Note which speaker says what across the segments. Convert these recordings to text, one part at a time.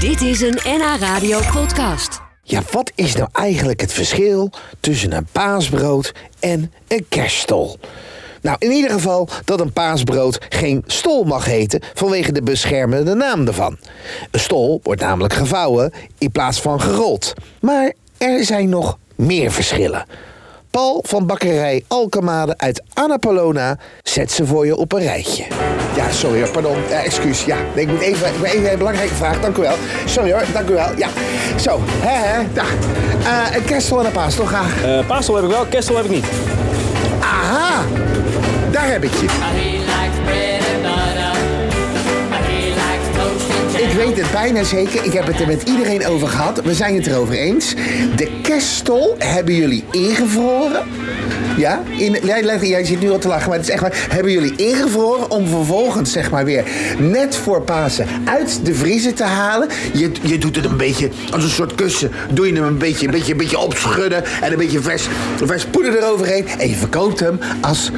Speaker 1: Dit is een NH Radio podcast.
Speaker 2: Ja, wat is nou eigenlijk het verschil tussen een paasbrood en een kerststol? Nou, in ieder geval dat een paasbrood geen stol mag heten vanwege de beschermende naam ervan. Een stol wordt namelijk gevouwen in plaats van gerold. Maar er zijn nog meer verschillen. Paul van bakkerij Alkemade uit Annapolona zet ze voor je op een rijtje. Ja, sorry hoor, pardon. Eh, excuus. Ja, nee, ik moet even, ik moet even een belangrijke vraag. Dank u wel. Sorry hoor, dank u wel. Ja, zo. Hè, hè. Ja. Eh, een kerstel en een paas, toch? graag.
Speaker 3: Eh paasel heb ik wel, kerstel heb ik niet.
Speaker 2: Aha, daar heb ik je.
Speaker 4: He likes bread and butter. He likes toast and jam.
Speaker 2: Ik weet het bijna zeker. Ik heb het er met iedereen over gehad. We zijn het erover eens. De kerststol hebben jullie ingevroren. Ja, in, jij, leg- jij zit nu al te lachen, maar het is echt waar. Hebben jullie ingevroren om vervolgens, zeg maar weer, net voor Pasen uit de vriezer te halen? Je, je doet het een beetje als een soort kussen. Doe je hem een beetje, een beetje, een beetje opschudden en een beetje vers, vers poeder eroverheen. En je verkoopt hem als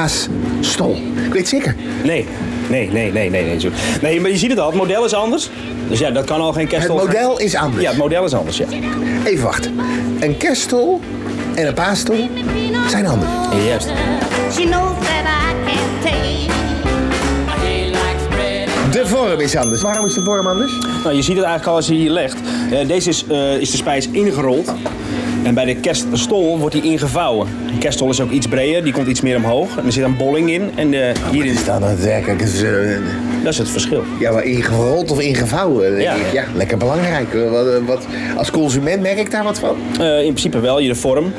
Speaker 2: paasstol. Ik weet het zeker.
Speaker 3: Nee, nee, nee, nee, nee. Nee, zo. nee maar je ziet het al, het model is anders. Dus ja, dat kan al geen
Speaker 2: Het
Speaker 3: kerstel zijn.
Speaker 2: model is anders.
Speaker 3: Ja, het model is anders, ja.
Speaker 2: Even wachten. Een kerststol en een paasstol zijn handen.
Speaker 3: Juist.
Speaker 5: She knows that I can't take.
Speaker 4: He likes bread and
Speaker 2: De vorm is anders. Waarom is de vorm anders?
Speaker 3: Nou, je ziet het eigenlijk al als je hier legt. Eh, deze is, eh, is de spijs ingerold. En bij de kerststol wordt die ingevouwen. De kerststol is ook iets breder, die komt iets meer omhoog. En er zit een bolling in. En eh, hierin,
Speaker 2: staan het werkelijk eens... eh,
Speaker 3: dat is het verschil.
Speaker 2: Ja, maar ingerold of ingevouwen. denk
Speaker 3: Ja.
Speaker 2: ik. ja lekker belangrijk. Wat, eh, wat, als consument merk ik daar wat van.
Speaker 3: Eh, in principe wel, je de vorm.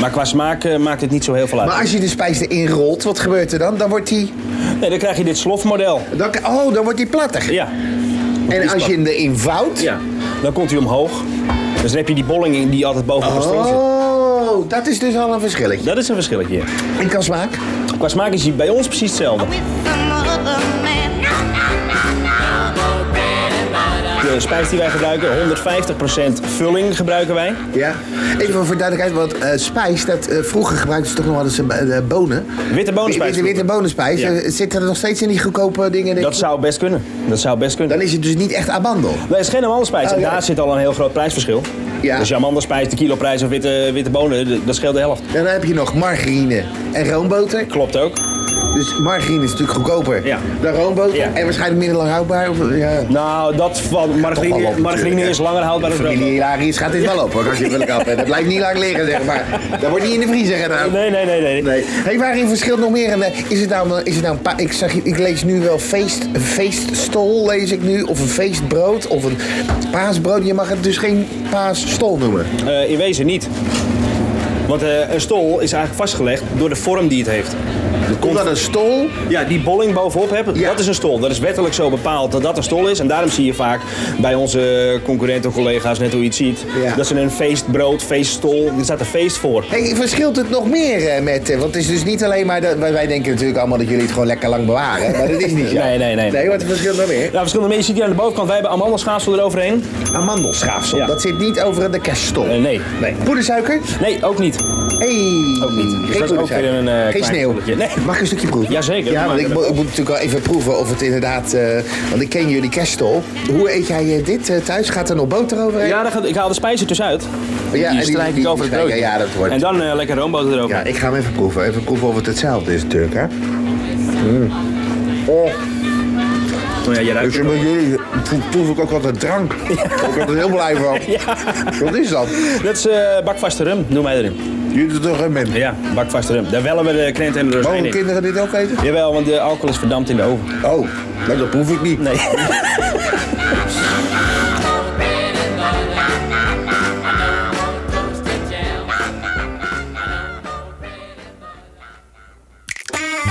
Speaker 3: Maar qua smaak eh, maakt het niet zo heel veel uit.
Speaker 2: Maar als je de spijs erin rolt, wat gebeurt er dan? Dan wordt die...
Speaker 3: Nee, dan krijg je dit slofmodel.
Speaker 2: Dan, oh, dan wordt die platter.
Speaker 3: Ja.
Speaker 2: en als je hem erin vouwt...
Speaker 3: Ja. Dan komt hij omhoog. Dus dan heb je die bolling in die altijd boven op de stol zit.
Speaker 2: Oh, dat is dus al een verschilletje.
Speaker 3: Dat is een verschilletje.
Speaker 2: En kan smaak?
Speaker 3: Qua smaak is hij bij ons precies hetzelfde.
Speaker 5: With some other man. No, no, no, no.
Speaker 4: bread and butter.
Speaker 3: De spijs die wij gebruiken, 150% vulling gebruiken wij.
Speaker 2: Ja. Even voor duidelijkheid, want eh, spijs, dat, eh, vroeger gebruikten ze toch nog wel eens eh, bonen.
Speaker 3: Witte bonenspijs.
Speaker 2: Witte, witte bonenspijs.
Speaker 3: Ja.
Speaker 2: Eh, Zit dat nog steeds in die goedkope dingen?
Speaker 3: Dat zou best kunnen. Dat zou best kunnen.
Speaker 2: Dan is het dus niet echt amandel.
Speaker 3: Dat is geen amandelspijs.
Speaker 2: Oh,
Speaker 3: en
Speaker 2: ja.
Speaker 3: daar zit al een heel groot prijsverschil.
Speaker 2: Ja.
Speaker 3: Dus je amandelspijs, de kiloprijs of witte, witte bonen, d- dat scheelt de helft.
Speaker 2: Dan heb je nog margarine en roomboter.
Speaker 3: Klopt ook.
Speaker 2: Dus margarine is natuurlijk goedkoper
Speaker 3: Ja.
Speaker 2: dan roomboter.
Speaker 3: Ja.
Speaker 2: En waarschijnlijk minder lang houdbaar. Of, ja.
Speaker 3: Nou, dat van
Speaker 2: Toch wel
Speaker 3: margarine,
Speaker 2: op,
Speaker 3: margarine
Speaker 2: natuurlijk,
Speaker 3: is
Speaker 2: hè.
Speaker 3: langer houdbaar dan
Speaker 2: Familie
Speaker 3: brood.
Speaker 2: Hilarius gaat dit wel op hoor, als je het wil kappen. Dat blijft niet lang liggen, zeg maar. Dat wordt niet in de vriezer gedaan.
Speaker 3: Nee, nee, nee, nee.
Speaker 2: Nee. Hey, waarin verschilt nog meer? En, eh, is het nou, een- is het nou een pa- ik, zag, ik lees nu wel feest, een feeststol, lees ik nu. Of een feestbrood, of een paasbrood. Je mag het dus geen paasstol noemen.
Speaker 3: Eh, in wezen niet. Want eh, een stol is eigenlijk vastgelegd door de vorm die het heeft.
Speaker 2: Omdat een stol...
Speaker 3: Ja, die bolling bovenop hebben,
Speaker 2: Ja.
Speaker 3: dat is een stol. Dat is wettelijk zo bepaald dat dat een stol is. En daarom zie je vaak bij onze concurrenten, collega's, net hoe je het ziet,
Speaker 2: Ja.
Speaker 3: dat ze een feestbrood, feeststol, er staat een feest voor.
Speaker 2: Hey, verschilt het nog meer eh, met... eh, want het is dus niet alleen maar... Dat, wij, wij denken natuurlijk allemaal dat jullie het gewoon lekker lang bewaren. Maar dat is niet zo.
Speaker 3: Nee, nee, nee.
Speaker 2: Nee, wat verschilt nog meer?
Speaker 3: Nou, verschillende mensen, je ziet hier aan de bovenkant, wij hebben amandelschaafsel eroverheen.
Speaker 2: Amandelschaafsel.
Speaker 3: Ja.
Speaker 2: Dat zit niet over de kerststol.
Speaker 3: Eh, nee.
Speaker 2: nee. Poedersuiker?
Speaker 3: Nee, ook niet.
Speaker 2: Hey.
Speaker 3: Ook niet. Dus dat is
Speaker 2: Geen
Speaker 3: ook
Speaker 2: poedersuiker.
Speaker 3: weer een, eh,
Speaker 2: Geen
Speaker 3: klein
Speaker 2: sneeuw.
Speaker 3: spelletje. Nee.
Speaker 2: Mag ik een stukje proeven?
Speaker 3: Jazeker,
Speaker 2: Ja,
Speaker 3: maar-
Speaker 2: want ik, mo- ik moet natuurlijk wel even proeven of het inderdaad... eh, want ik ken jullie kerststol. Hoe eet jij eh, dit eh, thuis? Gaat er nog boter overheen?
Speaker 3: Ja, dan gaat, ik haal de spijs er dus uit.
Speaker 2: Ja, en
Speaker 3: die
Speaker 2: die-
Speaker 3: strijk
Speaker 2: die-
Speaker 3: ik over het
Speaker 2: die
Speaker 3: broodje.
Speaker 2: strijk- ja, dat wordt-
Speaker 3: En dan eh, lekker roomboter erover.
Speaker 2: Ja, ik ga hem even proeven. Even proeven of het hetzelfde is natuurlijk, hè? Mm. Oh,
Speaker 3: Oh, ja, je ruikt
Speaker 2: dus
Speaker 3: het
Speaker 2: met jullie pro- proef ik ook altijd drank. ik ben er heel blij van. Wat is dat?
Speaker 3: ook. Dat is eh, bakvaste rum, doen wij erin.
Speaker 2: Jullie doen er geen min.
Speaker 3: Ja, bakvaste rum. Daar wellen we de krent en de rozijn
Speaker 2: Mogen
Speaker 3: in.
Speaker 2: kinderen dit ook eten?
Speaker 3: Jawel, want de alcohol is verdampt in de oven.
Speaker 2: Oh, nou, dat proef ik niet.
Speaker 3: Nee.
Speaker 4: Bread and butter. I don't want toast and jam. I don't want bread and butter.